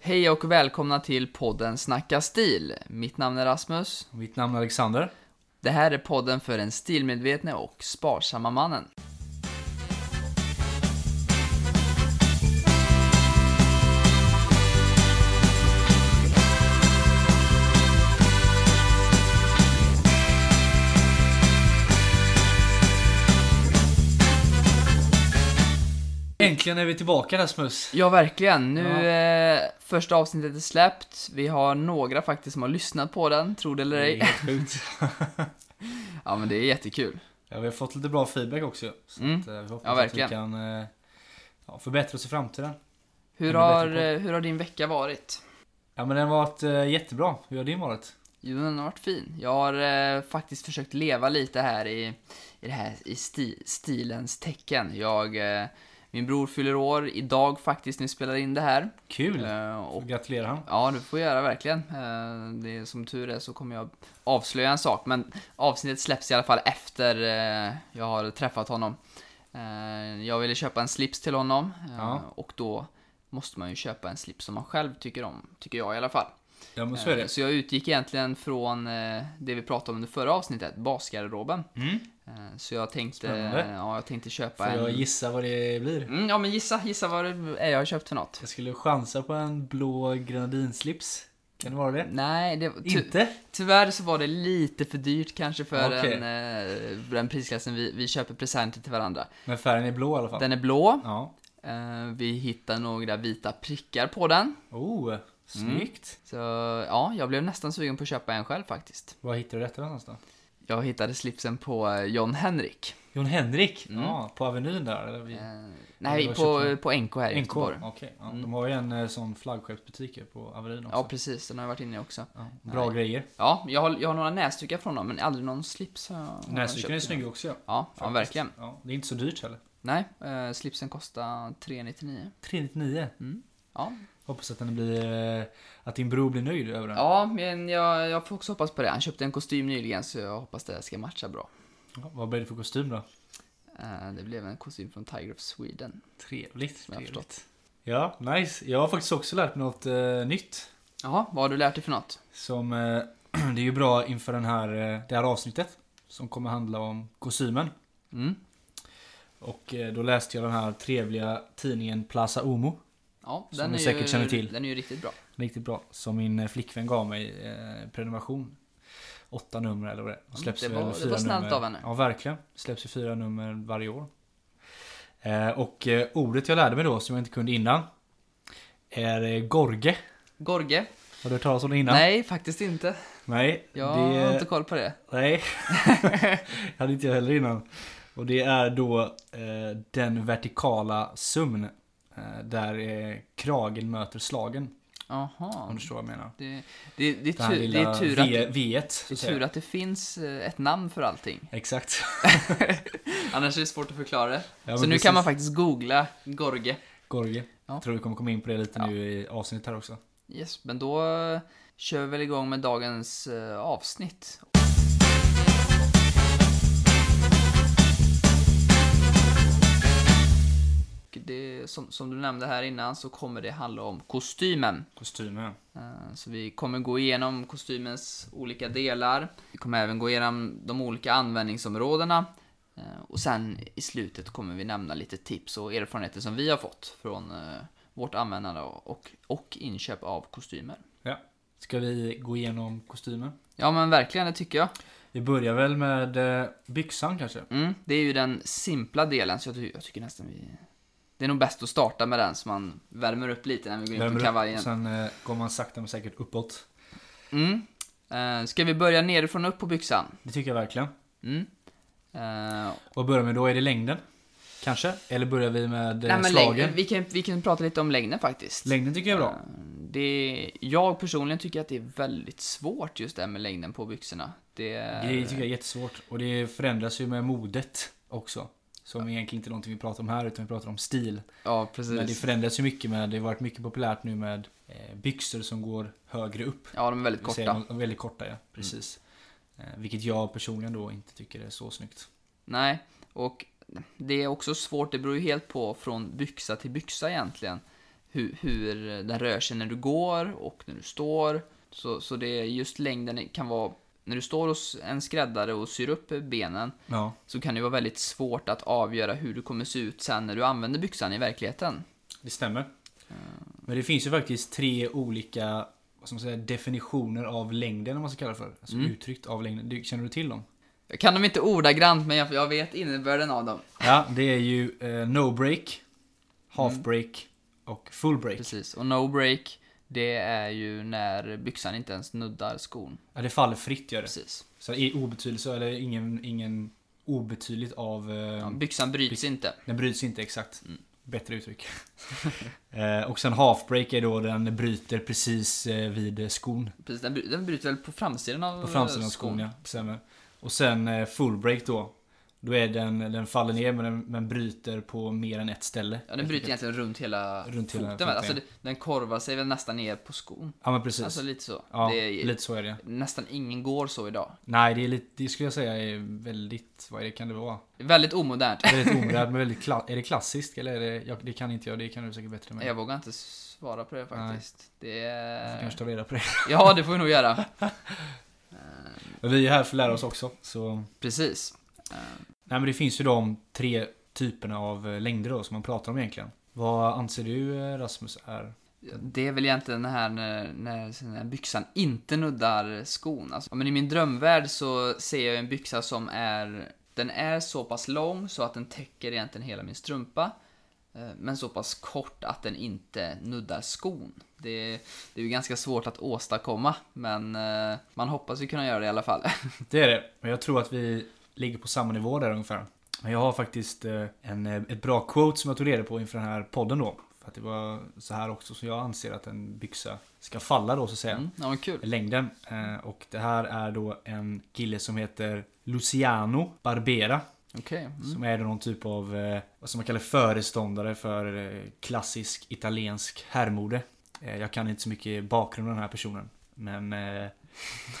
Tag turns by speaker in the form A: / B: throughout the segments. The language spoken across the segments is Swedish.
A: Hej och välkomna till podden Snacka stil. Mitt namn är Rasmus.
B: Mitt namn är Alexander.
A: Det här är podden för den stilmedvetne och sparsamma mannen.
B: Äntligen är vi tillbaka Rasmus.
A: Ja, verkligen. Nu eh, första avsnittet är släppt. Vi har några faktiskt som har lyssnat på den, tro det eller
B: Det är
A: ej.
B: helt sjukt.
A: Ja, men det är jättekul.
B: Ja, vi har fått lite bra feedback också. Så
A: Mm.
B: att, eh, vi hoppas
A: Ja,
B: att vi
A: verkligen.
B: kan eh, ja, förbättra oss i framtiden.
A: Hur
B: Det blir
A: har,
B: bättre
A: eh, hur har din vecka varit?
B: Ja men den har varit eh, jättebra. Hur har din varit?
A: Jo, den har varit fin. Jag har eh, faktiskt försökt leva lite här i, i, det här, i sti, stilens tecken. Jag, eh, min bror fyller år idag faktiskt, när vi spelar in det här.
B: Kul!
A: Eh, och
B: Och gratulerar han.
A: Ja, det får jag göra verkligen. Eh, Det är, som tur är så kommer jag avslöja en sak, men avsnittet släpps i alla fall efter eh, jag har träffat honom. Eh, Jag ville köpa en slips till honom eh,
B: Ja.
A: och då måste man ju köpa en slips som man själv tycker om, tycker jag i alla fall.
B: Ja men så är
A: Eh,
B: det.
A: Så jag utgick egentligen från eh, det vi pratade om under förra avsnittet, basgarderoben.
B: Mm.
A: Eh, Så jag tänkte,
B: Spännande.
A: ja, jag tänkte köpa
B: Får jag
A: en...
B: gissa vad det blir?
A: Mm, ja men gissa, gissa vad det är jag har köpt för något.
B: Jag skulle chansa på en blå grenadinslips. Kan det vara det?
A: Nej, det var... ty-
B: Inte?
A: Tyvärr så var det lite för dyrt kanske för
B: Okej.
A: en, eh, för den prisklassen vi, vi köper presenter till varandra.
B: Men färgen är blå i alla fall.
A: Den är blå,
B: Ja.
A: eh, vi hittar några vita prickar på den.
B: Oh, snyggt!
A: Så ja, jag blev nästan sugen på att köpa en själv faktiskt.
B: Var hittade du detta någonstans då?
A: Jag hittade slipsen på eh, John Henrik.
B: Jon Henrik?
A: Mm.
B: Ja, på Avenyn där? Eller vid...
A: Eh,
B: det
A: nej,
B: var
A: på,
B: köpt
A: på NK här i
B: NK?
A: Göteborg.
B: Okej, ja, de har ju en eh, sån flaggskeppsbutik här på Avenyn också.
A: Ja, precis. Den har jag varit inne i också.
B: Ja, bra grejer.
A: Ja, jag har, jag har några näsdukar från dem, men aldrig någon slips har jag- har jag
B: Näsduken är
A: köpt.
B: snygg också ja.
A: Ja, ja,
B: Faktiskt.
A: verkligen.
B: Ja, det är inte så dyrt heller.
A: Nej, eh, slipsen kostar 399.
B: 399.
A: Ja,
B: Hoppas att den blir... eh, Att din bror blir nöjd över den.
A: Ja, men jag, jag får också hoppas på det. Han köpte en kostym nyligen så jag hoppas det ska matcha bra.
B: Ja, Vad blir det för kostym då?
A: Eh, Det blev en kostym från Tiger of Sweden.
B: Trevligt.
A: Som jag har
B: trevligt. Ja, nice. Jag har faktiskt också lärt mig något eh, nytt.
A: Jaha, vad har du lärt dig för något?
B: Som... Eh, det är ju bra inför den här, eh, det här avsnittet. Som kommer handla om kostymen.
A: Mm.
B: Och eh, då läste jag den här trevliga tidningen Plaza Omo.
A: Ja,
B: Som
A: den
B: ni
A: är ju,
B: säkert känner till.
A: Den är ju riktigt bra.
B: Riktigt bra. Som min eh, flickvän gav mig eh, prenumeration. Åtta nummer eller vad det är. Och
A: Ja,
B: släpps
A: det
B: väl
A: var- det
B: fyra
A: var snällt
B: nummer.
A: av henne.
B: Ja, verkligen. Släpps ju fyra nummer varje år. Eh, och eh, ordet jag lärde mig då, som jag inte kunde innan, är eh, gorge.
A: Gorge?
B: Har du hört talas om det innan?
A: Nej, faktiskt inte.
B: Nej,
A: Jag
B: det-
A: har inte koll på det.
B: Nej, det hade inte jag heller innan. Och det är då eh, den vertikala sömn. Eh, där eh, kragen möter slagen. Om
A: Jaha.
B: du förstår vad jag menar.
A: Det, det, det,
B: Det
A: är
B: här
A: tur, det
B: lilla
A: är tur att
B: V-
A: det,
B: V-et, så
A: det, är
B: att säga.
A: tur att det finns eh, ett namn för allting.
B: Exakt.
A: Annars är det svårt att förklara det.
B: Ja,
A: Så
B: men
A: nu
B: precis.
A: kan man faktiskt googla Gorge.
B: Gorge.
A: Ja.
B: Jag tror vi kommer komma in på det lite
A: Ja.
B: nu i avsnittet här också.
A: Yes, men då eh, kör vi väl igång med dagens eh, avsnitt. Och Det, som, som du nämnde här innan så kommer det handla om kostymen.
B: Kostymen.
A: Eh, Så vi kommer gå igenom kostymens olika delar. Vi kommer även gå igenom de olika användningsområdena. Eh, Och sen i slutet kommer vi nämna lite tips och erfarenheter som vi har fått från eh, vårt användande och, och inköp av kostymer.
B: Ja. Ska vi gå igenom kostymen?
A: Ja men verkligen, det tycker jag.
B: Vi börjar väl med eh, byxan kanske?
A: Mm, det är ju den simpla delen, så jag, ty- jag tycker nästan vi... Det är nog bäst att starta med den så man värmer upp lite när vi går in på
B: Värmer upp,
A: kavajen.
B: Sen eh, går man sakta men säkert uppåt.
A: Mm. Eh, ska vi börja nerifrån och upp på byxan?
B: Det tycker jag verkligen.
A: Mm. Eh,
B: Vad börjar vi med då? Är det längden? Kanske? Eller börjar vi med eh,
A: nej, men
B: slagen?
A: längden, vi, kan, vi kan prata lite om längden faktiskt.
B: Längden tycker jag är bra.
A: Eh, det, jag personligen tycker att det är väldigt svårt just det här med längden på byxorna. Det,
B: Det tycker jag är jättesvårt. Och det förändras ju med modet också. Som egentligen inte är någonting vi pratar om här utan vi pratar om stil.
A: Ja, precis.
B: Men det förändras ju mycket med, det har varit mycket populärt nu med eh, byxor som går högre upp.
A: Ja, de är väldigt
B: Det vill säga,
A: korta. Mm.
B: de är Väldigt korta ja, precis. Eh, vilket jag personligen då inte tycker är så snyggt.
A: Nej, och det är också svårt, det beror ju helt på från byxa till byxa egentligen. hur, hur den rör sig när du går och när du står. Så, så det är just längden kan vara... När du står hos en skräddare och syr upp benen
B: Ja.
A: så kan det vara väldigt svårt att avgöra hur du kommer se ut sen när du använder byxan i verkligheten.
B: Det stämmer. Eh. Men det finns ju faktiskt tre olika vad ska man säga, definitioner av längden, om man ska kalla det för. Alltså
A: Mm.
B: uttryckt av längden. Du, känner du till dem?
A: Jag kan dem inte ordagrant, men jag, jag vet innebörden av dem.
B: Ja, det är ju eh, no break, half break och full break.
A: Mm. Precis. Och no break, det är ju när byxan inte ens nuddar skon.
B: Ja, det faller fritt gör det.
A: Precis.
B: Så i obetydelse, eller ingen, ingen obetydligt av... Eh,
A: Ja, byxan bryts inte.
B: Den bryts inte exakt.
A: Mm.
B: Bättre uttryck. eh, och sen half break är då den bryter precis eh, vid skon.
A: Precis, den, bry- den bryter väl på framsidan av
B: På framsidan av
A: eh,
B: skon, ja. Stämmer. Och sen eh, full break då. Då är den, den faller ner men den men bryter på mer än ett ställe.
A: Ja, den bryter egentligen runt hela
B: Runt hela
A: foten.
B: foten,
A: väl? alltså,
B: ja.
A: det- den korvar sig väl nästan ner på skon.
B: Ja men precis.
A: Alltså lite så.
B: ja,
A: det är,
B: lite så är det.
A: Nästan ingen går så idag.
B: Nej, det är lite, det skulle jag säga är väldigt, vad är det, kan det vara?
A: Det är Väldigt omodernt.
B: Väldigt omodernt men väldigt, kla- är det klassiskt eller är det, jag, det kan inte jag, det kan du säkert bättre än mig.
A: Jag vågar inte svara på det faktiskt. Det
B: Jag får
A: är...
B: kanske ta reda på det.
A: Ja, det får vi nog göra.
B: Men vi är här för att lära oss också, så
A: Precis.
B: Nej men det finns ju de tre typerna av eh, längder då som man pratar om egentligen. Vad anser du eh, Rasmus är?
A: Det är väl egentligen den här när, när, när byxan inte nuddar skon. Alltså, ja, men I min drömvärld så ser jag en byxa som är... Den är så pass lång så att den täcker egentligen hela min strumpa. eh, Men så pass kort att den inte nuddar skon. Det, det är ju ganska svårt att åstadkomma, men eh, man hoppas ju kunna göra det i alla fall.
B: Det är det, men jag tror att vi ligger på samma nivå där ungefär. Men jag har faktiskt eh, en, eh, ett bra quote som jag tog reda på inför den här podden då. För att det var så här också som jag anser att en byxa ska falla då så att säga.
A: Mm, ja, men kul.
B: Längden. Eh, Och det här är då en kille som heter Luciano Barbera.
A: Okej. Mm.
B: Som är då någon typ av, eh, vad som man kallar föreståndare för eh, klassisk italiensk herrmode. Eh, Jag kan inte så mycket bakgrund om den här personen. Men eh,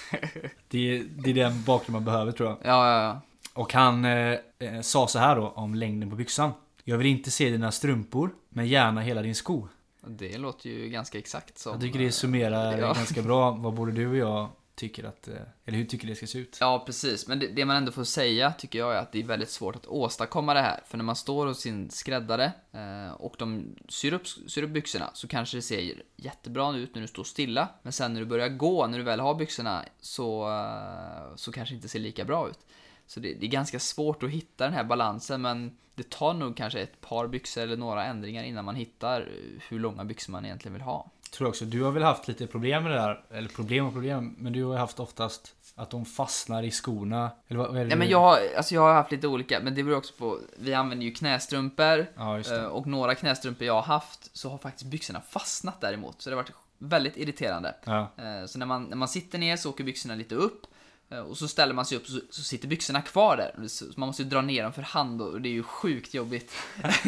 B: det, det är den bakgrund man behöver tror jag.
A: Ja, ja, ja.
B: Och han eh, eh, sa så här då om längden på byxan. Jag vill inte se dina strumpor, men gärna hela din sko.
A: Det låter ju ganska exakt som...
B: Jag tycker det
A: eh,
B: summerar
A: ja.
B: ganska bra vad både du och jag tycker att, eh, eller hur tycker det ska se ut.
A: Ja, precis. Men det, det man ändå får säga tycker jag är att det är väldigt svårt att åstadkomma det här. För när man står hos sin skräddare eh, och de syr upp, syr upp byxorna så kanske det ser jättebra ut när du står stilla. Men sen när du börjar gå, när du väl har byxorna, så, eh, så kanske det inte ser lika bra ut. Så det, det är ganska svårt att hitta den här balansen men det tar nog kanske ett par byxor eller några ändringar innan man hittar eh, hur långa byxor man egentligen vill ha.
B: tror jag också. Du har väl haft lite problem med det där. Eller problem och problem. Men du har ju haft oftast att de fastnar i skorna. Eller vad vad är det
A: Nej, men
B: du-
A: jag, har, alltså jag har haft lite olika, men det beror också på, vi använder ju knästrumpor
B: Ja, just det.
A: eh, och några knästrumpor jag har haft så har faktiskt byxorna fastnat däremot, så det har varit väldigt irriterande.
B: Ja.
A: Eh, Så när man, när man sitter ner så åker byxorna lite upp eh, och så ställer man sig upp så, så sitter byxorna kvar där. Så så man måste ju dra ner dem för hand och det är ju sjukt jobbigt.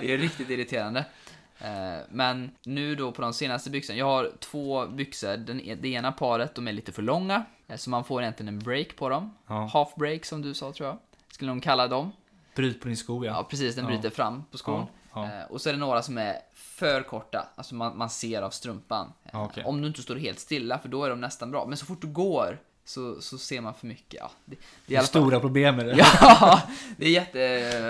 A: det är riktigt irriterande. Eh, Men nu då på de senaste byxorna, jag har två byxor, Den, e- det ena paret de är lite för långa eh, så man får egentligen en break på dem.
B: Ja.
A: Half break som du sa tror jag, skulle de kalla dem.
B: Bryt på din sko ja.
A: Ja precis, den
B: Ja.
A: bryter fram på skon.
B: Ja, ja.
A: Eh, Och så är det några som är för korta, alltså man, man ser av strumpan. Eh,
B: Ja, okej.
A: Om du inte står helt stilla, för då är de nästan bra. Men så fort du går så, så ser man för mycket. Ja, det,
B: Det
A: i
B: är
A: alla fall-
B: stora problem med det.
A: Ja, det är jätte...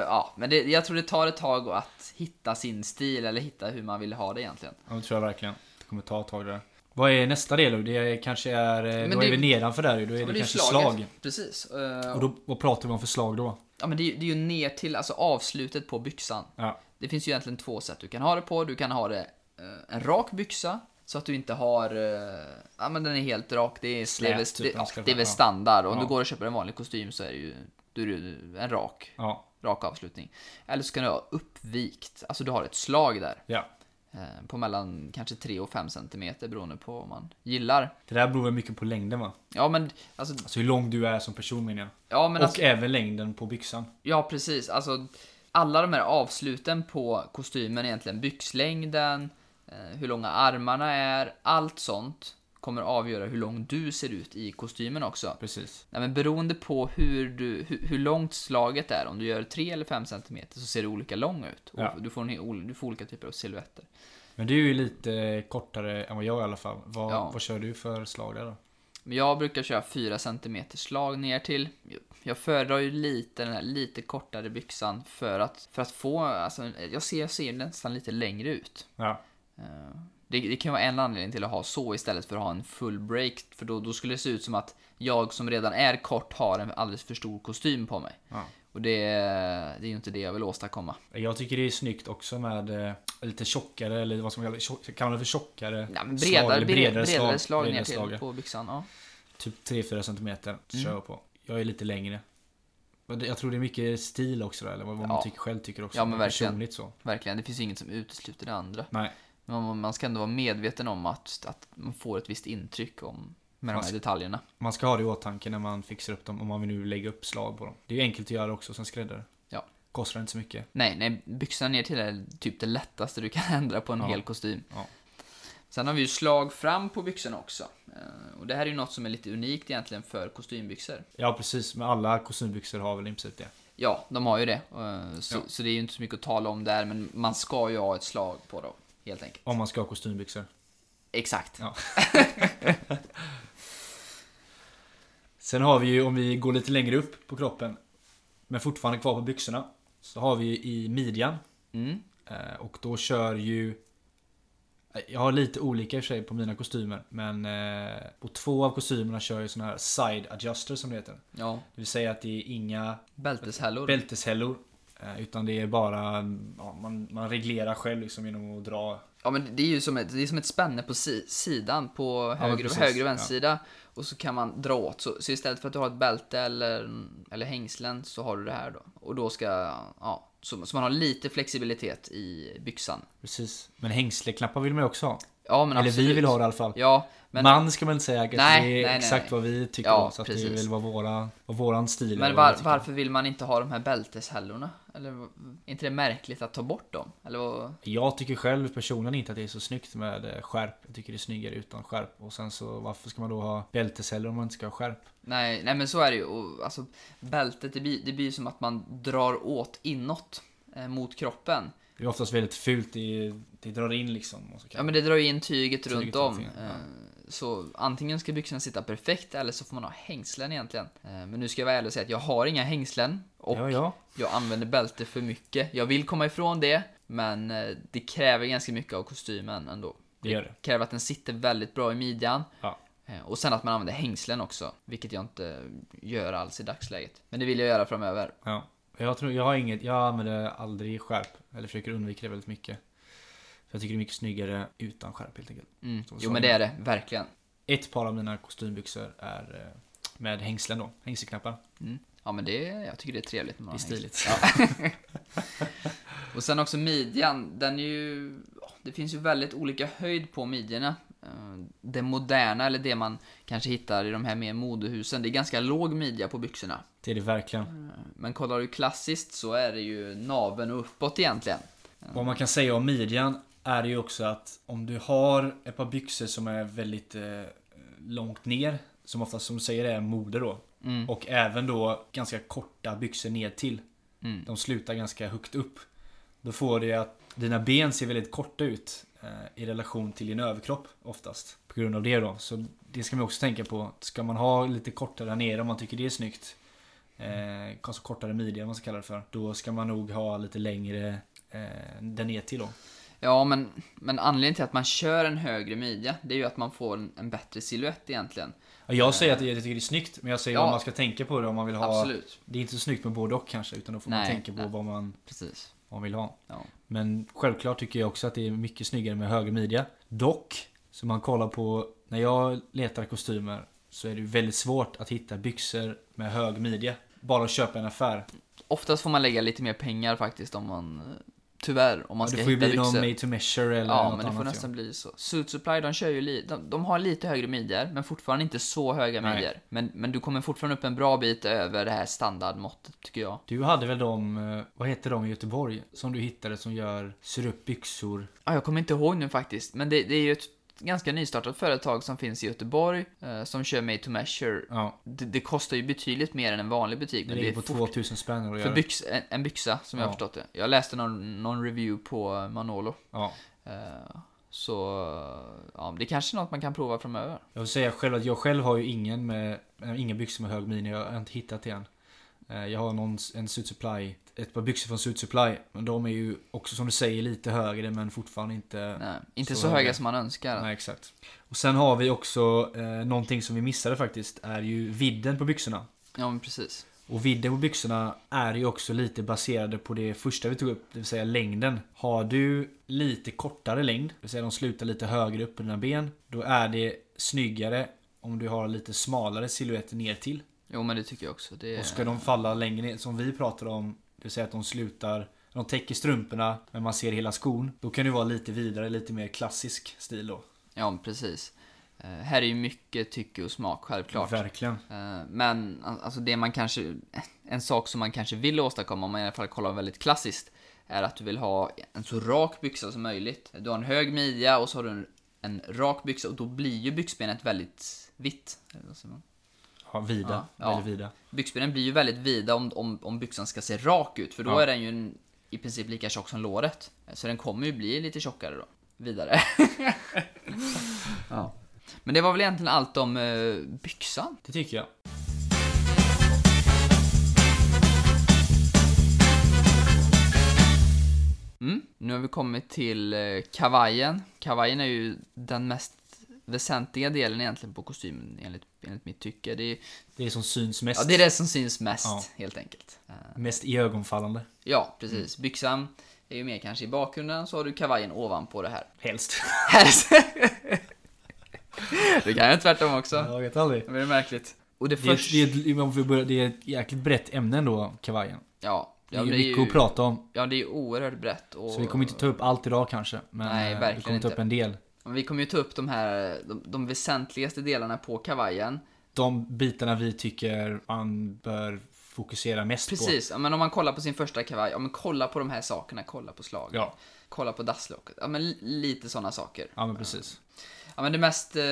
A: Ja, men det, jag tror det tar ett tag att hitta sin stil eller hitta hur man vill ha det egentligen.
B: Ja, det tror jag verkligen. Det kommer ta ett tag där. Vad är nästa del då? Det är, kanske är... Men
A: Men
B: då
A: det-
B: är vi nedanför där ju. Då är
A: Men
B: det,
A: ju
B: kanske
A: slaget.
B: slag.
A: Precis. Eh,
B: Och då, vad pratar vi om för slag då?
A: Ja, men det, är ju- det är ju ner till alltså avslutet på byxan.
B: Ja.
A: Det finns ju egentligen två sätt du kan ha det på. Du kan ha det eh, en rak byxa så att du inte har, eh, ja men den är helt rak, det är,
B: Slät,
A: det är, väl-
B: typ,
A: det,
B: den
A: ja,
B: ska
A: det är väl
B: vara, ja.
A: standard. Om
B: Ja.
A: du går och köper en vanlig kostym så är det ju då är det en rak,
B: Ja.
A: rak avslutning. Eller så kan du ha uppvikt, alltså du har ett slag där.
B: ja.
A: eh, På mellan kanske 3 och 5 centimeter beroende på vad man gillar.
B: Det där beror väl mycket på längden va?
A: Ja men, alltså,
B: Alltså hur lång du är som person menar jag.
A: ja, men
B: och
A: alltså,
B: även längden på byxan.
A: Ja, precis. Alltså, alla de här avsluten på kostymen egentligen, byxlängden, eh, hur långa armarna är, allt sånt kommer avgöra hur lång du ser ut i kostymen också.
B: Precis.
A: Nej, men beroende på hur, du, hur, hur långt slaget är, om du gör 3 eller 5 cm så ser du olika lång ut. Och
B: Ja.
A: du, får en, hel- du får olika typer av silhuetter.
B: Men du är ju lite kortare än vad jag i alla fall. Vad,
A: Ja.
B: vad kör du för slag där då?
A: Men jag brukar köra 4 cm slag ner till. Jag föredrar ju lite den här lite kortare byxan för att, för att få, alltså, jag ser, jag ser nästan lite längre ut.
B: Ja.
A: Eh, Det, det kan ju vara en anledning till att ha så istället för att ha en full break. För då, då skulle det se ut som att jag som redan är kort har en alldeles för stor kostym på mig.
B: ja.
A: Och det, det är ju inte det jag vill åstadkomma.
B: Jag tycker det är snyggt också med eh, lite tjockare, eller vad som kallas, tjock, kan man det för tjockare
A: Ja, men
B: slag?
A: bredare,
B: eller
A: bredare, bredare slag,
B: bredare
A: ner till Mm.
B: slag, ja.
A: på byxan. Ja.
B: Typ 3-4 centimeter kör jag på. Jag är lite längre. Men det- jag tror det är mycket stil också där, eller vad vad man
A: Ja.
B: tycker, själv tycker också.
A: Ja, men verkligen.
B: Personligt så.
A: Verkligen, det finns ju inget som utesluter det andra.
B: Nej.
A: Men man- man ska ändå vara medveten om att, att man får ett visst intryck om med de
B: Man
A: här
B: ska-
A: detaljerna.
B: Man ska ha det i åtanke när man fixar upp dem, om man vill nu lägga upp slag på dem. Det är ju enkelt att göra också som skräddare.
A: Ja.
B: Kostar inte så mycket.
A: Nej, nej, byxan ner till är typ det lättaste du kan ändra på en
B: Ja.
A: hel kostym.
B: Ja.
A: Sen har vi ju slag fram på byxorna också. Eh, Och det här är ju något som är lite unikt egentligen för kostymbyxor.
B: Ja, precis. Men alla kostymbyxor har väl i princip det.
A: Ja, de har ju det. eh, Så,
B: Ja.
A: så det är ju inte så mycket att tala om där, men man ska ju ha ett slag på dem. Helt enkelt.
B: Om man ska ha kostymbyxor.
A: Exakt.
B: Ja. Sen har vi ju, om vi går lite längre upp på kroppen, men fortfarande kvar på byxorna, så har vi ju i midjan.
A: Mm.
B: eh, Och då kör ju... eh, Jag har lite olika i och för sig på mina kostymer, men eh, på två av kostymerna kör jag såna här side adjuster som det heter.
A: Ja,
B: Det vill säga att det är inga
A: bälteshällor.
B: bälteshällor, eh, utan det är bara... mm, Ja, man, man reglerar själv liksom genom att dra
A: Ja men det är ju som ett, det är som ett spänne på si, sidan på
B: men
A: höger, och
B: precis,
A: höger och
B: ja.
A: vänstersida. Och så kan man dra åt. Så, så istället för att du har ett bälte eller, eller hängslen så har du det här då. Och då ska, ja, så, så man har lite flexibilitet i byxan.
B: Precis, men hängsleknappar vill man ju också ha.
A: Ja men
B: Eller
A: absolut.
B: vi vill ha det i alla fall.
A: Ja, men,
B: Man ska man inte säga, för
A: Nej,
B: det
A: nej,
B: är
A: nej,
B: exakt
A: nej.
B: vad vi tycker
A: Ja,
B: om. Så att
A: precis.
B: det är väl vad våra, vad våran stil
A: men
B: eller vad vi
A: var,
B: tycker.
A: varför vill man inte ha de här bälteshällorna? Eller är inte det märkligt att ta bort dem? Eller vad?
B: Jag tycker själv personligen inte att det är så snyggt med eh, skärp. Jag tycker det är snyggare utan skärp. Och sen så varför ska man då ha bältesceller om man inte ska ha skärp?
A: Nej, nej men så är det ju. Och, alltså, bältet det blir, det blir som att man drar åt inåt eh, mot kroppen.
B: Det är oftast väldigt fult, det, det drar in liksom. Och så kan
A: Ja men det drar ju in tyget
B: Tyget
A: runt om.
B: runt omkring, ja.
A: Eh, Så antingen ska byxorna sitta perfekt eller så får man ha hängslen egentligen. Eh, Men nu ska jag vara ärlig och säga att jag har inga hängslen och
B: ja, ja.
A: jag använder bälte för mycket. Jag vill komma ifrån det, men eh, det kräver ganska mycket av kostymen ändå.
B: Det gör det.
A: kräver att den sitter väldigt bra i midjan.
B: Ja.
A: Eh, Och sen att man använder hängslen också, vilket jag inte gör alls i dagsläget. Men det vill jag göra framöver.
B: Ja. Jag, tror, jag, har inget, jag använder aldrig skärp. Eller försöker undvika det väldigt mycket. För jag tycker det är mycket snyggare utan skärp helt enkelt.
A: Mm.
B: Så-
A: Jo men det är det, verkligen.
B: Ett par av mina kostymbyxor är eh, med hängslen då, hängselknappar.
A: Mm. Ja men det, jag tycker det är trevligt. när
B: Det
A: man
B: är
A: har hängslen.
B: stiligt.
A: Och sen också midjan, den är ju... Det finns ju väldigt olika höjd på midjorna. Eh, Det moderna, eller det man kanske hittar i de här mer modehusen, det är ganska låg midja på byxorna.
B: Det är det verkligen.
A: Eh, Men kollar du klassiskt så är det ju naveln och uppåt egentligen.
B: Vad man kan säga om midjan är ju också att om du har ett par byxor som är väldigt eh, långt ner, som oftast som du säger är mode då.
A: Mm.
B: Och även då ganska korta byxor ner till.
A: Mm.
B: De slutar ganska högt upp. Då får det ju att dina ben ser väldigt korta ut eh, i relation till din överkropp oftast. På grund av det då. Så det ska man också tänka på. Ska man ha lite kortare där nere om man tycker det är snyggt. Eh, alltså kortare midja om man ska kalla det för. Då ska man nog ha lite längre eh, där ner till då.
A: Ja, men, men anledningen till att man kör en högre midja, det är ju att man får en, en bättre siluett egentligen.
B: Ja, Jag säger att jag tycker det är snyggt men jag säger
A: Ja.
B: vad man ska tänka på det om man vill ha.
A: Absolut.
B: Det är inte så snyggt med både och kanske utan då får man
A: Nej,
B: tänka på
A: nej.
B: vad man,
A: Precis.
B: vad man vill ha.
A: Ja.
B: Men självklart tycker jag också att det är mycket snyggare med höger midja. Dock, som man kollar på när jag letar kostymer så är det ju väldigt svårt att hitta byxor med hög midja. Bara att köpa i en affär.
A: Oftast får man lägga lite mer pengar faktiskt om man... eh, Tyvärr, om man ska
B: det får ju
A: hitta
B: bli någon
A: byxor.
B: made to measure eller
A: Ja,
B: något
A: men det får
B: annat.
A: nästan bli så. Suit Supply, de kör ju li- de, de har lite högre midjor, men fortfarande inte så höga
B: Nej.
A: midjor. Men, men du kommer fortfarande upp en bra bit över det här standardmåttet, tycker jag.
B: Du hade väl de, eh, vad heter de i Göteborg? Som du hittade som gör, syr upp byxor.
A: Ja, jag kommer inte ihåg nu faktiskt, men det, det är ju ett ganska nystartat företag som finns i Göteborg, eh, som kör made to measure.
B: Ja,
A: Det, det kostar ju betydligt mer än en vanlig butik,
B: det
A: men det
B: ligger
A: är
B: på
A: fort,
B: 2000 spänn att
A: för
B: göra.
A: byx, en, en byxa, som jag
B: Ja.
A: har förstått det. Jag läste någon, någon review på eh, Manolo.
B: Ja,
A: Eh, Så ja, det är kanske är något man kan prova framöver.
B: Jag vill säga själv att jag själv har ju ingen, med, eh, ingen byxor med hög mini. Jag har inte hittat det än. Eh, Jag har någon, en Suit Supply, ett par byxor från Suit Supply. Men de är ju också som du säger lite högre men fortfarande inte...
A: Nej, inte
B: så
A: så,
B: är
A: höga
B: det.
A: som man önskar.
B: Nej, exakt. Och sen har vi också eh, någonting som vi missade faktiskt. Är ju vidden på byxorna.
A: Ja, men precis.
B: Och vidden på byxorna är ju också lite baserade på det första vi tog upp, det vill säga längden. Har du lite kortare längd, det vill säga de slutar lite högre upp på dina ben, då är det snyggare om du har lite smalare silhuetter ner till.
A: Jo, men det tycker jag också. Det,
B: Och ska de falla längre ner, som vi pratade om, det vill säga att de slutar de täcker strumporna men man ser hela skon. Då kan det vara lite vidare, lite mer klassisk stil då.
A: Ja, men precis. Eh, här är ju mycket tycke och smak, självklart.
B: Verkligen.
A: Eh, Men a- alltså det man kanske, en sak som man kanske vill åstadkomma, om man i alla fall kollar väldigt klassiskt, är att du vill ha en så rak byxa som möjligt. Du har en hög midja och så har du en, en rak byxa och då blir ju byxbenet väldigt vitt. Eller vad säger man?
B: Ja, vida.
A: Ja, ja.
B: Väldigt vida.
A: Byxbenen blir ju väldigt vida om, om, om byxan ska se rak ut, för då
B: Ja.
A: är den ju en, i princip lika tjock som låret. Så den kommer ju bli lite tjockare då. Vidare. ja. Men det var väl egentligen allt om eh, byxan.
B: Det tycker jag.
A: Mm. Nu har vi kommit till eh, kavajen. Kavajen är ju den mest väsentliga delen egentligen på kostymen enligt, enligt mitt tycke. Det är,
B: Det är som syns mest.
A: ja, det är det som syns mest
B: Ja.
A: helt enkelt. Eh,
B: Mest iögonfallande.
A: Ja,
B: Mm.
A: precis. Byxan är ju mer kanske i bakgrunden, så har du kavajen ovanpå det här.
B: Helst.
A: det kan jag tvärtom också.
B: Jag vet aldrig.
A: Det blir märkligt. Och det
B: Det är,
A: första...
B: det, är, om vi börjar, det är ett jäkligt brett ämne ändå, kavajen.
A: Ja,
B: Det är
A: ja,
B: ju
A: det
B: mycket att prata om.
A: ja, det är ju oerhört brett. Och...
B: Så vi kommer inte ta upp allt idag kanske. Men
A: Nej,
B: eh, vi
A: verkligen
B: kommer ta upp
A: inte.
B: en del.
A: Men Vi kommer ju ta upp de här, de, de väsentligaste delarna på kavajen.
B: De bitarna vi tycker man bör fokusera mest på.
A: Precis, ja, men om man kollar på sin första kavaj, ja men kolla på de här sakerna, kolla på slaget.
B: Ja.
A: Kolla på dasslocket, ja men li- lite sådana saker.
B: Ja, men precis.
A: Ja men det mest eh,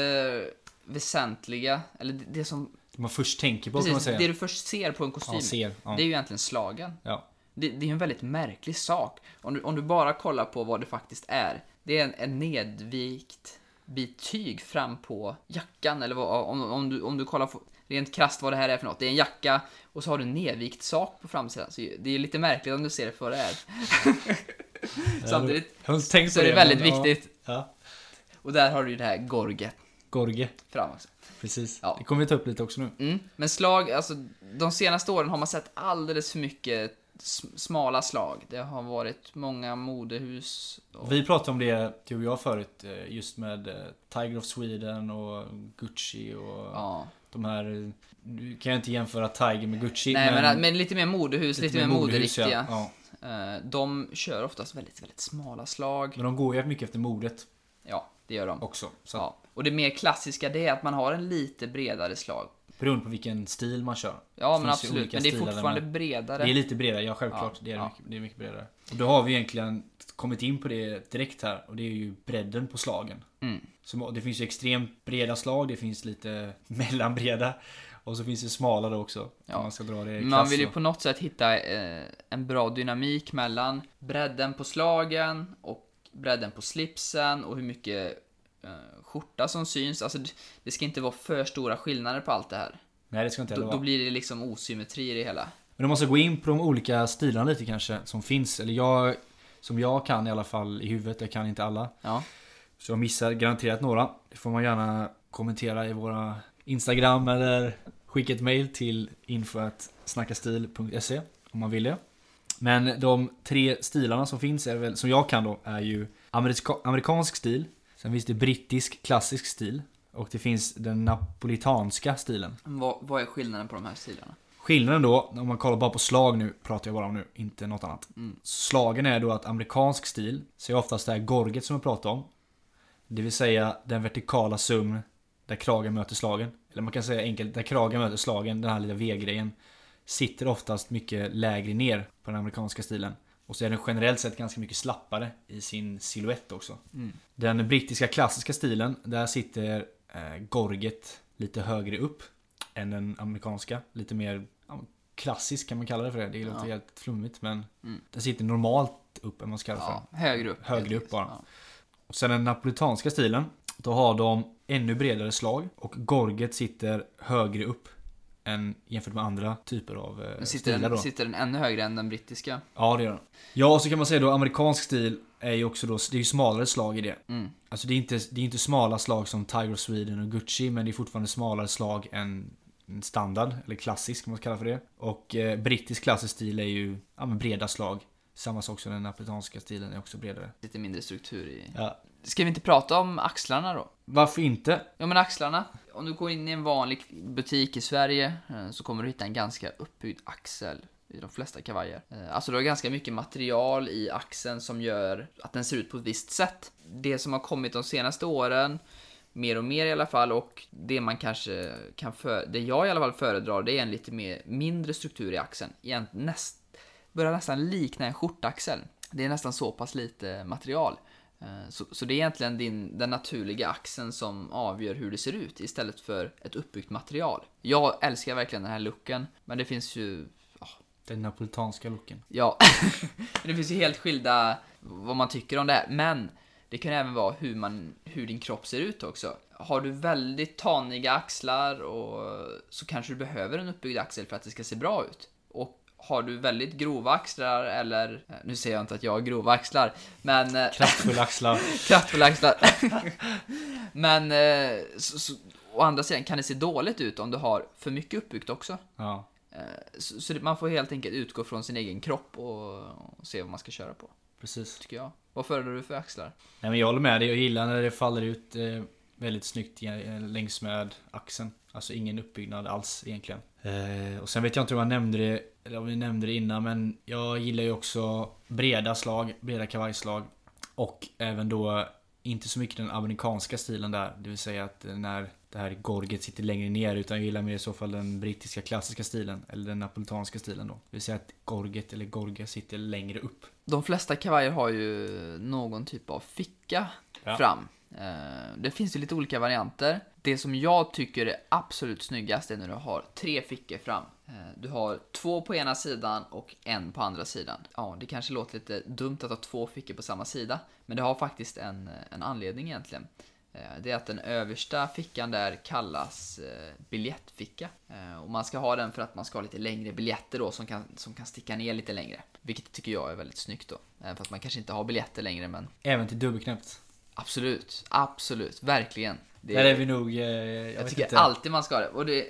A: väsentliga, eller det, det som,
B: Man först tänker på kan man
A: precis,
B: säga.
A: det du först ser på en kostym,
B: ja, ser. Ja.
A: det är ju egentligen slagen.
B: ja.
A: Det, det är ju en väldigt märklig sak. Om du, om du bara kollar på vad det faktiskt är. Det är en, en nedvikt bit tyg fram på jackan. Eller vad, om, om, du, om du kollar på, rent krasst vad det här är för något. Det är en jacka och så har du en nedvikt sak på framsidan. Så det är lite märkligt om du ser det för vad det är. Samtidigt
B: Jag har inte tänkt
A: så
B: på
A: är det väldigt
B: men,
A: viktigt.
B: Ja. ja.
A: Och där har du ju det här gorget
B: Gorge.
A: fram också.
B: Precis.
A: Ja.
B: Det kommer vi ta upp lite också nu.
A: Mm. Men slag, alltså de senaste åren har man sett alldeles för mycket sm- smala slag. Det har varit många modehus. och-
B: Vi pratade om det, du och jag förut, eh, just med eh, Tiger of Sweden och Gucci och
A: Ja.
B: de här... eh, Nu kan jag inte jämföra Tiger med Gucci
A: Nej men, men, lite mer modehus, lite, mer
B: modehus, ja.
A: moderiktiga.
B: Ja.
A: Eh, De kör oftast väldigt, väldigt smala slag.
B: Men de går ju mycket efter modet
A: Ja, det gör de.
B: också. Så att,
A: Ja. Och det mer klassiska det är att man har en lite bredare slag.
B: Beroende på vilken stil man kör.
A: Ja men
B: Finns ju
A: absolut,
B: olika
A: men det är
B: stilar där
A: fortfarande
B: Det
A: bredare.
B: är lite bredare, ja självklart.
A: Ja,
B: det, är
A: ja.
B: mycket, det är mycket bredare. Och då har vi egentligen kommit in på det direkt här och det är ju bredden på slagen.
A: Mm.
B: Så det finns ju extremt breda slag, det finns lite mellanbreda och så finns det smalare också.
A: Ja.
B: Om man ska dra det i
A: Men Man
B: klass
A: vill ju
B: då.
A: på något sätt hitta eh, en bra dynamik mellan bredden på slagen och bredden på slipsen och hur mycket eh, skjorta som syns. Alltså det- det ska inte vara för stora skillnader på allt det här.
B: Nej det ska inte heller
A: Då, då
B: vara.
A: blir det liksom osymmetri i det hela.
B: Men om man ska gå in på de olika stilarna lite kanske som finns. Eller jag, som jag kan i alla fall i huvudet, jag kan inte alla.
A: Ja.
B: Så jag missar garanterat några. Det får man gärna kommentera i våra Instagram eller skicka ett mail till info.snackastil.se om man vill det. Men de tre stilarna som finns, är väl, som jag kan då, är ju amerika- amerikansk stil. Sen finns det brittisk klassisk stil. Och det finns den napolitanska stilen.
A: Vad, vad är skillnaden på de här stilarna?
B: Skillnaden då, om man kollar bara på slag nu, pratar jag bara om nu, inte något annat.
A: Mm.
B: Slagen är då att amerikansk stil ser oftast det här gorget som jag pratade om. Det vill säga den vertikala sömn där kragen möter slagen. Eller man kan säga enkelt, där kragen möter slagen, den här lilla V-grejen. Sitter oftast mycket lägre ner på den amerikanska stilen. Och så är den generellt sett ganska mycket slappare i sin silhuett också.
A: Mm.
B: Den brittiska klassiska stilen, där sitter eh, gorget lite högre upp än den amerikanska. Lite mer ja, klassisk kan man kalla det för det. Det låter
A: Ja.
B: helt flummigt men
A: Mm.
B: den sitter normalt upp än vad man ska kalla det för.
A: Ja, högre upp.
B: Högre
A: helt
B: upp bara.
A: enkelt.
B: Och sen den napolitanska stilen. Då har de ännu bredare slag och gorget sitter högre upp än jämfört med andra typer av eh,
A: Men sitter,
B: stilar. Då.
A: den, sitter den ännu högre än den brittiska?
B: Ja, det gör den. Ja, och så kan man säga då amerikansk stil är ju också då, det är ju smalare slag i det.
A: Mm.
B: Alltså det är, inte, det är inte smala slag som Tiger of Sweden och Gucci, men det är fortfarande smalare slag än en standard, eller klassisk om man ska kalla för det. Och eh, brittisk klassisk stil är ju ja, men breda slag. Samma sak som den napolitanska stilen är också bredare.
A: Lite mindre struktur i...
B: Ja.
A: Ska vi inte prata om axlarna då?
B: Varför inte?
A: Ja men axlarna. Om du går in i en vanlig butik i Sverige eh, så kommer du hitta en ganska uppbyggd axel i de flesta kavajer. Eh, Alltså du har ganska mycket material i axeln som gör att den ser ut på ett visst sätt. Det som har kommit de senaste åren, mer och mer i alla fall, och det man kanske kan för, det jag i alla fall föredrar, det är en lite mer, mindre struktur i axeln. Egent, näst, börjar nästan likna en skjortaxel. Det är nästan så pass lite material. Eh, Så, så det är egentligen din, den naturliga axeln som avgör hur det ser ut istället för ett uppbyggt material. Jag älskar verkligen den här looken, men det finns ju... ah, ja,
B: Den napolitanska looken.
A: Ja, det finns ju helt skilda vad man tycker om det här. Men det kan även vara hur, man, hur din kropp ser ut också. Har du väldigt taniga axlar och så kanske du behöver en uppbyggd axel för att det ska se bra ut. Och har du väldigt grova axlar eller, nu säger jag inte att jag har grova axlar, men eh,
B: Kraftfulla axlar.
A: kraftfulla axlar. men eh, så, så, å andra sidan kan det se dåligt ut om du har för mycket uppbyggt också.
B: Ja.
A: Eh, Så, så det- man får helt enkelt utgå från sin egen kropp och, och se vad man ska köra på,
B: Precis.
A: tycker jag. Vad föredrar du för axlar?
B: Nej men jag håller med dig, jag gillar när det faller ut eh, väldigt snyggt eh, längs med axeln. Alltså ingen uppbyggnad alls egentligen. Eh, och sen vet jag inte om jag nämnde det, eller om vi nämnde det innan, men jag gillar ju också breda slag, breda kavajslag. Och även då inte så mycket den amerikanska stilen där, det vill säga att eh, när det här gorget sitter längre ner utan jag gillar mer i så fall den brittiska klassiska stilen eller den napolitanska stilen då. Det vill säga att gorget eller gorga sitter längre upp.
A: De flesta kavajer har ju någon typ av ficka
B: Ja.
A: fram. Eh, Det finns ju lite olika varianter. Det som jag tycker är absolut snyggast är när du har tre fickor fram. Eh, Du har två på ena sidan och en på andra sidan. Ja, det kanske låter lite dumt att ha två fickor på samma sida, men det har faktiskt en, en anledning egentligen. Eh, Det är att den översta fickan där kallas eh, biljettficka. Eh, Och man ska ha den för att man ska ha lite längre biljetter då som kan, som kan sticka ner lite längre. Vilket tycker jag är väldigt snyggt då. Även fast man kanske inte har biljetter längre men
B: Även till dubbelknäppt.
A: absolut, absolut, verkligen. Det-
B: Där är vi nog... Eh, jag
A: jag
B: vet
A: tycker
B: inte.
A: alltid man ska ha det. Och det.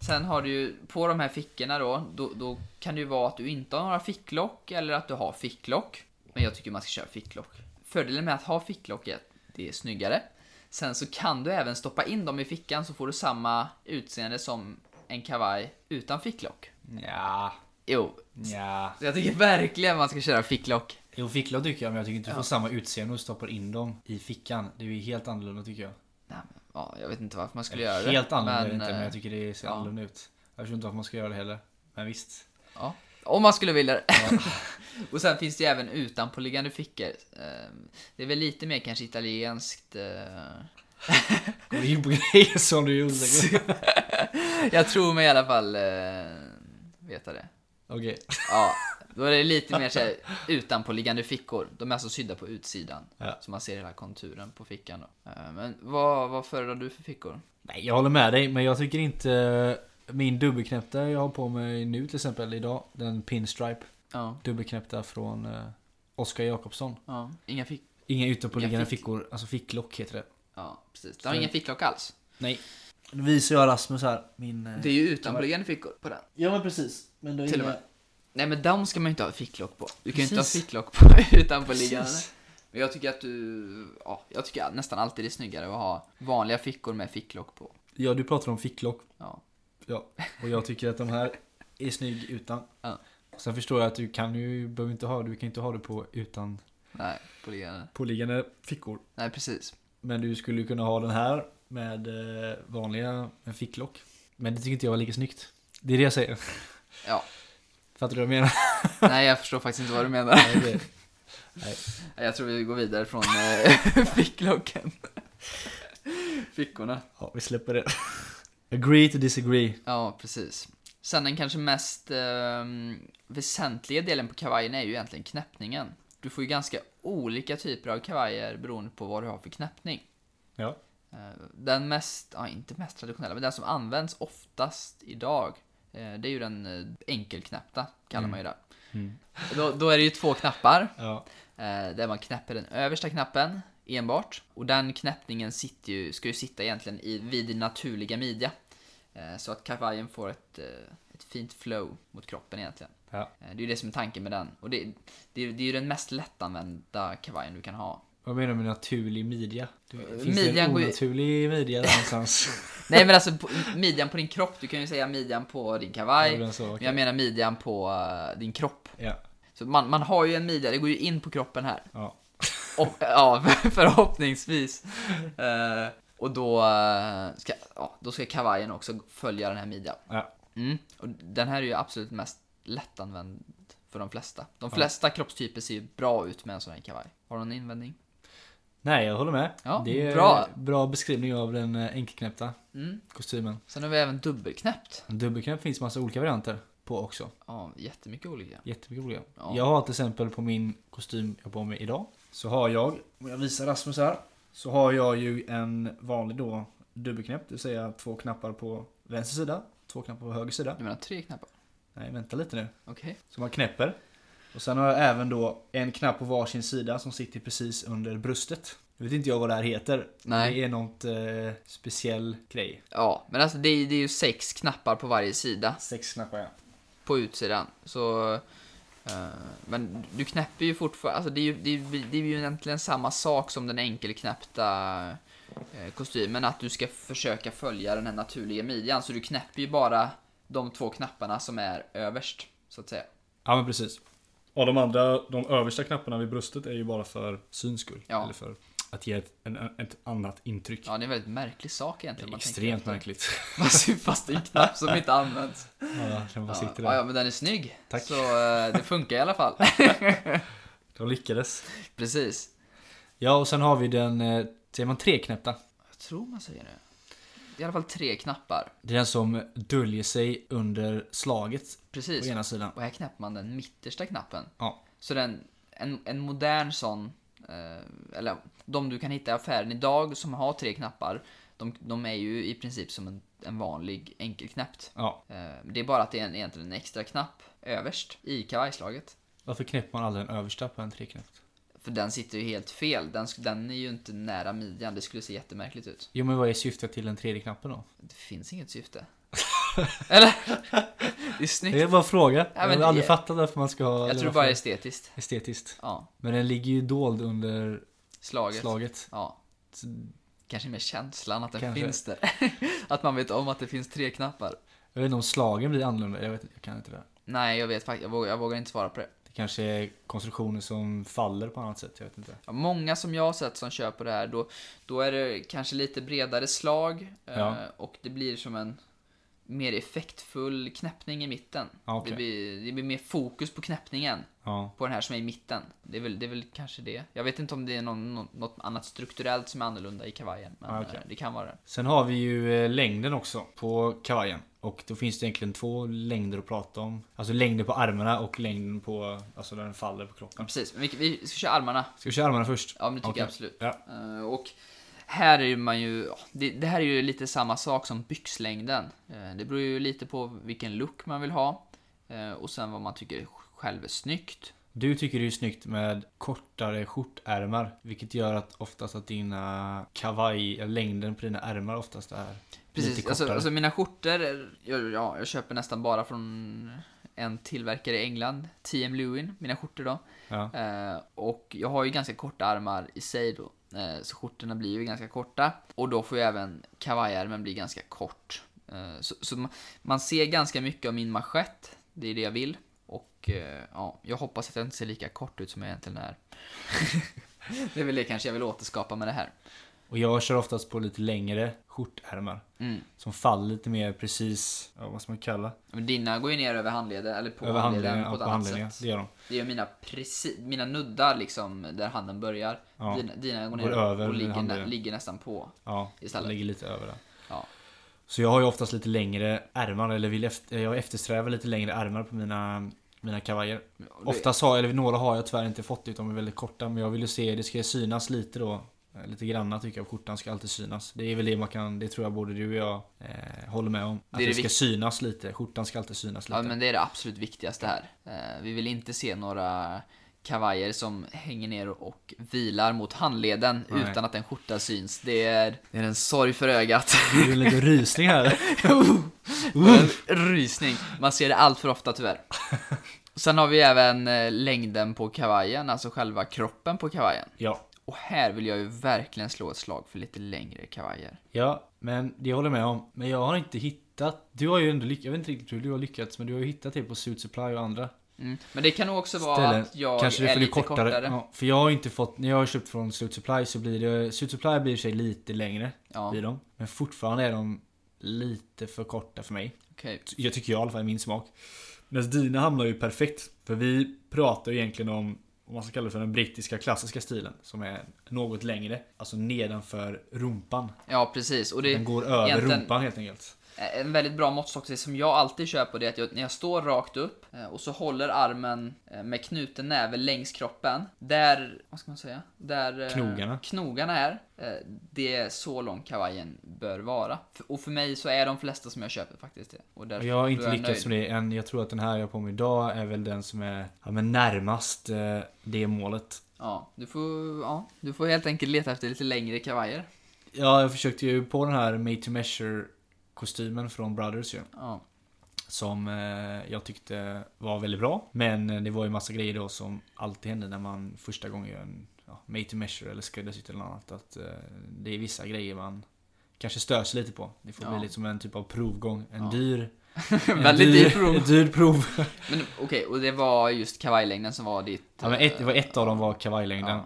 A: Sen har du ju, på de här fickorna då, då, då kan det ju vara att du inte har några ficklock eller att du har ficklock. Men jag tycker man ska köra ficklock. Fördelen med att ha ficklock är att det är snyggare. Sen så kan du även stoppa in dem i fickan så får du samma utseende som en kavaj utan ficklock.
B: Ja,
A: Jo,
B: ja.
A: så jag tycker verkligen man ska köra ficklock.
B: Jo, ficklor tycker jag, men jag tycker inte du får samma utseende och stoppar in dem i fickan. Det är ju helt annorlunda tycker jag.
A: Nej, men, ja, jag vet inte varför man skulle göra det.
B: helt annorlunda är det inte,
A: eh,
B: men jag tycker det ser
A: ja.
B: annorlunda ut. Jag förstår inte varför man ska göra det heller. Men visst.
A: Ja, om man skulle vilja det. och sen finns det ju även utanpåliggande fickor. Eh, Det är väl lite mer kanske italienskt. eh.
B: Går du in på grejer som du är osäker på?
A: Jag tror mig i alla fall eh, veta det.
B: Okej.
A: Ja, då är det lite mer så här, utanpåliggande fickor. De är alltså sydda på utsidan.
B: Ja.
A: Så man ser hela konturen på fickan då. Eh, Men vad, vad föredrar du för fickor?
B: Nej, jag håller med dig, men jag tycker inte... eh, Min dubbelknäppta jag har på mig nu till exempel idag, den pinstripe
A: Ja,
B: dubbelknäppta från eh, Oskar Jakobsson.
A: ja. inga fickor.
B: Inga utanpåliggande
A: Inga fick-
B: fickor, alltså ficklock heter det.
A: Ja, precis. De har ingen ficklock alls.
B: Nej. Nu visar jag Rasmus här, min... eh,
A: Det är ju utanpåliggande fickor på den.
B: Ja men precis. Men då
A: Till och med. Nej men de ska man ju inte ha ficklock på. Du kan ju inte ha
B: Precis.
A: ficklock på utanpåliggande.
B: Precis.
A: Men jag tycker att du, ja, jag tycker att nästan alltid det är snyggare att ha vanliga fickor med ficklock på.
B: Ja du pratar om ficklock.
A: Ja.
B: Ja. Och jag tycker att de här är snygg utan.
A: Ja.
B: Sen förstår jag att du kan ju, behöver inte ha, du kan inte ha det på utan
A: Nej, på liggande.
B: påliggande fickor.
A: Nej, precis.
B: Men du skulle ju kunna ha den här med eh, vanliga med ficklock. Men det tycker inte jag var lika snyggt. Det är det jag säger.
A: Ja.
B: Fattar du vad jag menar?
A: Nej, jag förstår faktiskt inte vad du menar.
B: Nej, det-
A: Nej, Jag tror vi går vidare från eh, ficklocken. Fickorna.
B: ja, vi släpper det. Agree to disagree.
A: Ja, precis. ehm, Sen den kanske mest eh, väsentliga delen på kavajen är ju egentligen knäppningen. du får ju ganska olika typer av kavajer beroende på vad du har för knäppning.
B: Ja.
A: Eh, Den mest, ja inte mest traditionella, men den som används oftast idag, eh, det är ju den eh, enkelknäppta, kallar man ju det.
B: Mm.
A: Då, då är det ju två knappar,
B: Ja.
A: eh, där man knäpper den översta knappen enbart. Och den knäppningen sitter ju, ska ju sitta egentligen i, vid din naturliga midja. Eh, Så att kavajen får ett, eh, ett fint flow mot kroppen egentligen.
B: ja.
A: Eh, Det är ju det som är tanken med den. Och det, det, det är ju den mest lättanvända kavajen du kan ha.
B: Vad menar du med naturlig midja? Du,
A: Eh,
B: finns det
A: midjan
B: en
A: går ju-
B: onaturlig midja där någonstans?
A: Nej men alltså på, midjan på din kropp, du kan ju säga midjan på din kavaj.
B: Gjorde den så,
A: Men
B: okej.
A: jag menar midjan på eh, din kropp.
B: Ja.
A: Så man, man har ju en midja, det går ju in på kroppen här.
B: ja.
A: Och, ja, förhoppningsvis. Eh, och då eh, ska, ja, då ska kavajen också följa den här midjan.
B: ja.
A: Mm. Och den här är ju absolut mest lättanvänd för de flesta. De flesta kroppstyper ser ju bra ut med en sån här kavaj. Har du någon invändning?
B: Nej, jag håller med.
A: Ja,
B: det är
A: bra.
B: bra beskrivning av den eh, enkelknäppta
A: Mm.
B: kostymen.
A: Sen har vi även dubbelknäppt.
B: En Dubbelknäpp finns massa olika varianter på också.
A: Ja, jättemycket olika.
B: Jättemycket olika.
A: Ja.
B: Jag har till exempel på min kostym jag har på mig idag. Så har jag, om jag visar Rasmus här. Så har jag ju en vanlig då dubbelknäpp. Det vill säga två knappar på vänster sida. Två knappar på höger sida.
A: Du menar tre knappar?
B: Nej, vänta lite nu.
A: Okej.
B: Som man knäpper. Och sen har jag även då en knapp på varsin sida som sitter precis under bröstet. Nu vet inte jag vad det här heter.
A: Nej.
B: Det är något eh, speciell grej.
A: Ja, men alltså det är, det är ju sex knappar på varje sida
B: Sex knappar ja.
A: på utsidan. Så, eh, men du knäpper ju fortfarande, alltså det är ju, det är, det är ju egentligen samma sak som den enkelknäppta eh, kostymen, att du ska försöka följa den här naturliga midjan. Så du knäpper ju bara de två knapparna som är överst, så att säga.
B: Ja men precis. Och de andra, de översta knapparna vid bröstet är ju bara för syns skull.
A: Ja.
B: Eller för att ge ett, en, ett annat intryck.
A: Ja, det är en väldigt märklig sak egentligen. om man tänker
B: Extremt
A: efter.
B: märkligt.
A: Man syfast i en knapp som inte används.
B: Ja, den bara
A: Ja,
B: sitter
A: ja,
B: där.
A: ja, men den är snygg.
B: Tack.
A: Så eh, det funkar i alla fall.
B: De lyckades.
A: Precis.
B: Ja och sen har vi den, eh, säger man treknäppta?
A: Jag tror man säger det. I alla fall tre knappar.
B: Det är den som döljer sig under slaget på
A: Precis.
B: ena sidan.
A: Och här knäpper man den mittersta knappen.
B: Ja.
A: Så den, en, en modern sån, eh, eller de du kan hitta i affären idag som har tre knappar, de, de är ju i princip som en, en vanlig enkelknäppt.
B: Ja.
A: Eh, det är bara att det är en, egentligen en extra knapp överst i kavajslaget.
B: Varför knäpper man aldrig den översta på en treknäppt?
A: För den sitter ju helt fel, den, sk- den är ju inte nära midjan, det skulle se jättemärkligt ut.
B: Jo men vad är syftet till den tredje knappen då?
A: Det finns inget syfte. eller? Det är snyggt.
B: Det är bara en fråga.
A: men
B: jag har
A: det-
B: aldrig fattat varför man ska ha...
A: Jag
B: eller
A: tror
B: varför-
A: bara estetiskt.
B: Estetiskt.
A: Ja,
B: Men den ligger ju dold under
A: slaget.
B: slaget.
A: Ja. Kanske med känslan att den
B: Kanske.
A: finns där. att man vet om att det finns tre knappar.
B: Jag vet inte om slagen blir annorlunda, jag, vet, inte, jag kan inte det. här.
A: Nej, jag vet faktiskt. Jag vågar, jag vågar inte svara på det.
B: Det kanske är konstruktioner som faller på annat sätt, jag vet inte.
A: Ja, Många som jag har sett som köper det här, då, då är det kanske lite bredare slag eh,
B: Ja.
A: och det blir som en mer effektfull knäppning i mitten.
B: Ja, okej.
A: Det, blir, det blir mer fokus på knäppningen
B: Ja.
A: på den här som är i mitten. Det är väl, det är väl kanske det. Jag vet inte om det är någon, någon, något annat strukturellt som är annorlunda i kavajen, men
B: Ja, okej.
A: eh, det kan vara det.
B: Sen har vi ju eh, längden också på kavajen. Och då finns det egentligen två längder att prata om. Alltså längden på armarna och längden på, alltså där den faller på
A: Ja,
B: kroppen.
A: precis, men vi, vi ska köra armarna.
B: Ska vi köra armarna först?
A: Ja, men det tycker
B: Okej.
A: jag absolut.
B: Ja.
A: Eh, och här är man ju, det, det här är ju lite samma sak som byxlängden. Eh, det beror ju lite på vilken look man vill ha eh, och sen vad man tycker själv är snyggt.
B: Du tycker det är snyggt med kortare skjortärmar. Vilket gör att oftast att dina kavaj, eller längden på dina ärmar oftast är lite
A: Precis,
B: kortare.
A: alltså, alltså mina skjortor, är- jag, ja, jag köper nästan bara från en tillverkare i England, TM Lewin, mina skjortor då.
B: ja.
A: Eh, och jag har ju ganska korta armar i sig då, eh, så skjortorna blir ju ganska korta. Och då får ju även kavajärmen bli ganska kort. Eh, så så man, man ser ganska mycket av min manschett, det är det jag vill. Och eh, ja, jag hoppas att jag inte ser lika kort ut som jag egentligen är. det är väl det kanske jag vill återskapa med det här.
B: Och jag kör oftast på lite längre skjortärmar.
A: Mm.
B: Som faller lite mer precis, ja, vad ska man kalla?
A: Men dina går ju ner över handleden, eller på
B: Över
A: handleden på
B: handleden, ja,
A: ett
B: på
A: annat
B: handleden.
A: sätt.
B: Det gör de.
A: Det är mina, precis, mina nuddar liksom, där handen börjar.
B: Ja.
A: Dina, dina går ner
B: Går över
A: och ligger, nä,
B: handleden.
A: ligger nästan på.
B: Ja,
A: Istället.
B: ligger lite över där.
A: Ja.
B: Så jag har ju oftast lite längre ärmar, eller vill efter, jag eftersträvar lite längre ärmar på mina mina kavajer.
A: Ja, det-
B: Oftast har, eller några har jag tyvärr inte fått ut, de är väldigt korta. Men jag vill ju se, det ska ju synas lite då. eh, Lite granna tycker jag, skjortan ska alltid synas. Det är väl det man kan, det tror jag både du och jag eh, håller med om. Att
A: är
B: det,
A: det
B: ska
A: vik-
B: synas lite, skjortan ska alltid synas lite.
A: Ja, men det är det absolut viktigaste här. Eh, Vi vill inte se några kavajer som hänger ner och vilar mot handleden
B: Nej.
A: utan att en skjorta syns. Det är, det är en sorg för ögat.
B: Det är lite rysning här.
A: en rysning. Man ser det allt för ofta tyvärr. Sen har vi även eh, längden på kavajen, alltså själva kroppen på kavajen.
B: Ja,
A: Och här vill jag ju verkligen slå ett slag för lite längre kavajer.
B: ja, men det håller jag med om. Men jag har inte hittat, du har ju ändå lyckats, jag vet inte riktigt hur du har lyckats, men du har ju hittat det på Suit Supply och andra
A: Mm. Men det kan nog också vara
B: ställen.
A: att jag
B: Kanske det
A: är
B: får bli
A: lite
B: kortare.
A: kortare.
B: Ja, för jag har inte fått, när jag har köpt från Suit Supply så blir det, Suit Supply blir i och för sig lite längre.
A: Ja,
B: i
A: okej.
B: dem. Men fortfarande är de lite för korta för mig. Jag tycker jag i alla fall, i min smak. Medan dina hamnar ju perfekt. För vi pratar ju egentligen om, om man ska kalla det för den brittiska klassiska stilen. Som är något längre. Alltså nedanför rumpan.
A: Ja, precis. Och det,
B: den går över
A: egentligen-
B: rumpan helt enkelt.
A: En väldigt bra måttstock som jag alltid kör på det är att jag, när jag står rakt upp eh, och så håller armen eh, med knuten näve längs kroppen. Där, vad ska man säga? Där eh,
B: Knogarna.
A: knogarna är. eh, Det är så lång kavajen bör vara. F- Och för mig så är de flesta som jag köper faktiskt det. Och därför
B: Jag har inte
A: är
B: lyckats
A: nöjd.
B: med det än. Jag tror att den här jag har på mig idag är väl den som är ja, men närmast eh, det målet.
A: Ja, du får, ja, du får helt enkelt leta efter lite längre kavajer.
B: Ja, jag försökte ju på den här made to measure kostymen från Brothers ju.
A: Ja.
B: Som eh, jag tyckte var väldigt bra. Men eh, det var ju massa grejer då som alltid händer när man första gången gör en ja, made to measure eller skräddarsytt eller något annat. Att eh, det är vissa grejer man kanske stör sig lite på. Det får
A: Ja.
B: bli lite som en typ av provgång. En
A: Ja.
B: dyr... en
A: Väldigt dyr prov.
B: en dyr prov.
A: Men okej, och det var just kavajlängden som var ditt... eh,
B: ja, men ett, det var ett av dem var kavajlängden.
A: Ja.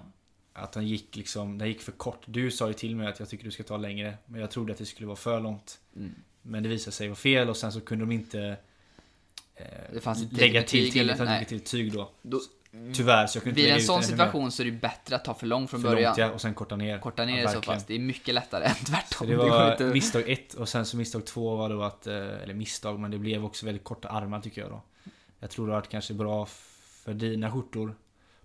B: Att den gick liksom, den gick för kort. Du sa ju till mig att jag tycker du ska ta längre. Men jag trodde att det skulle vara för långt.
A: Mm.
B: Men det visade sig vara fel och sen så kunde de inte eh,
A: Alltså, Det fanns inte
B: lägga
A: riktigt
B: till
A: betyg
B: till,
A: eller-
B: det fanns
A: nej.
B: inte riktigt tyg då.
A: Då,
B: Tyvärr så jag kunde inte
A: vid
B: lägga
A: en
B: ut
A: sån
B: den ännu
A: situation så är det ju bättre att ta för lång från
B: mer. För
A: början.
B: långt, ja, och sen korta ner.
A: Korta ner
B: Ja,
A: det så
B: verkligen.
A: pass, det är mycket lättare än
B: Så
A: tvärtom.
B: det
A: går
B: var
A: inte-
B: misstag ett och sen så misstag två var då att, eh, eller misstag men det blev också väldigt korta armar tycker jag då. Jag tror det var kanske bra f- för dina skjortor.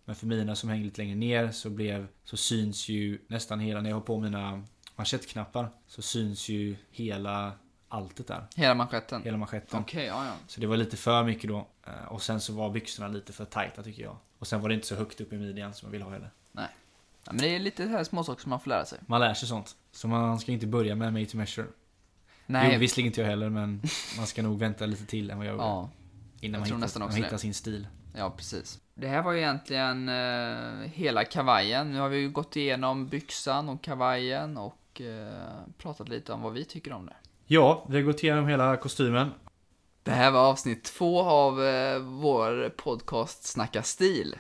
B: Men för mina som hänger lite längre ner så blev, så syns ju nästan hela, när jag har på mina manschettknappar så syns ju hela alltet där.
A: Hela manschetten?
B: Hela manschetten.
A: Okej, ja ja.
B: Så det var lite för mycket då. Eh, Och sen så var byxorna lite för tajta tycker jag. Och sen var det inte så högt upp i midjan som jag ville ha heller.
A: Nej. Ja, men det är lite så här småsaker som man får lära sig.
B: Man lär sig sånt. Så man ska inte börja med made to measure.
A: Nej.
B: Jo, visserligen inte jag heller men man ska nog vänta lite till än vad jag gjorde.
A: ja,
B: innan man
A: tror
B: hittar,
A: nästan
B: man
A: också
B: hittar
A: det.
B: sin stil.
A: ja, precis. Det här var ju egentligen eh, hela kavajen. Nu har vi ju gått igenom byxan och kavajen och eh, pratat lite om vad vi tycker om det.
B: Ja, vi har gått igenom hela kostymen.
A: Det här var avsnitt två av eh, vår podcast Snacka stil.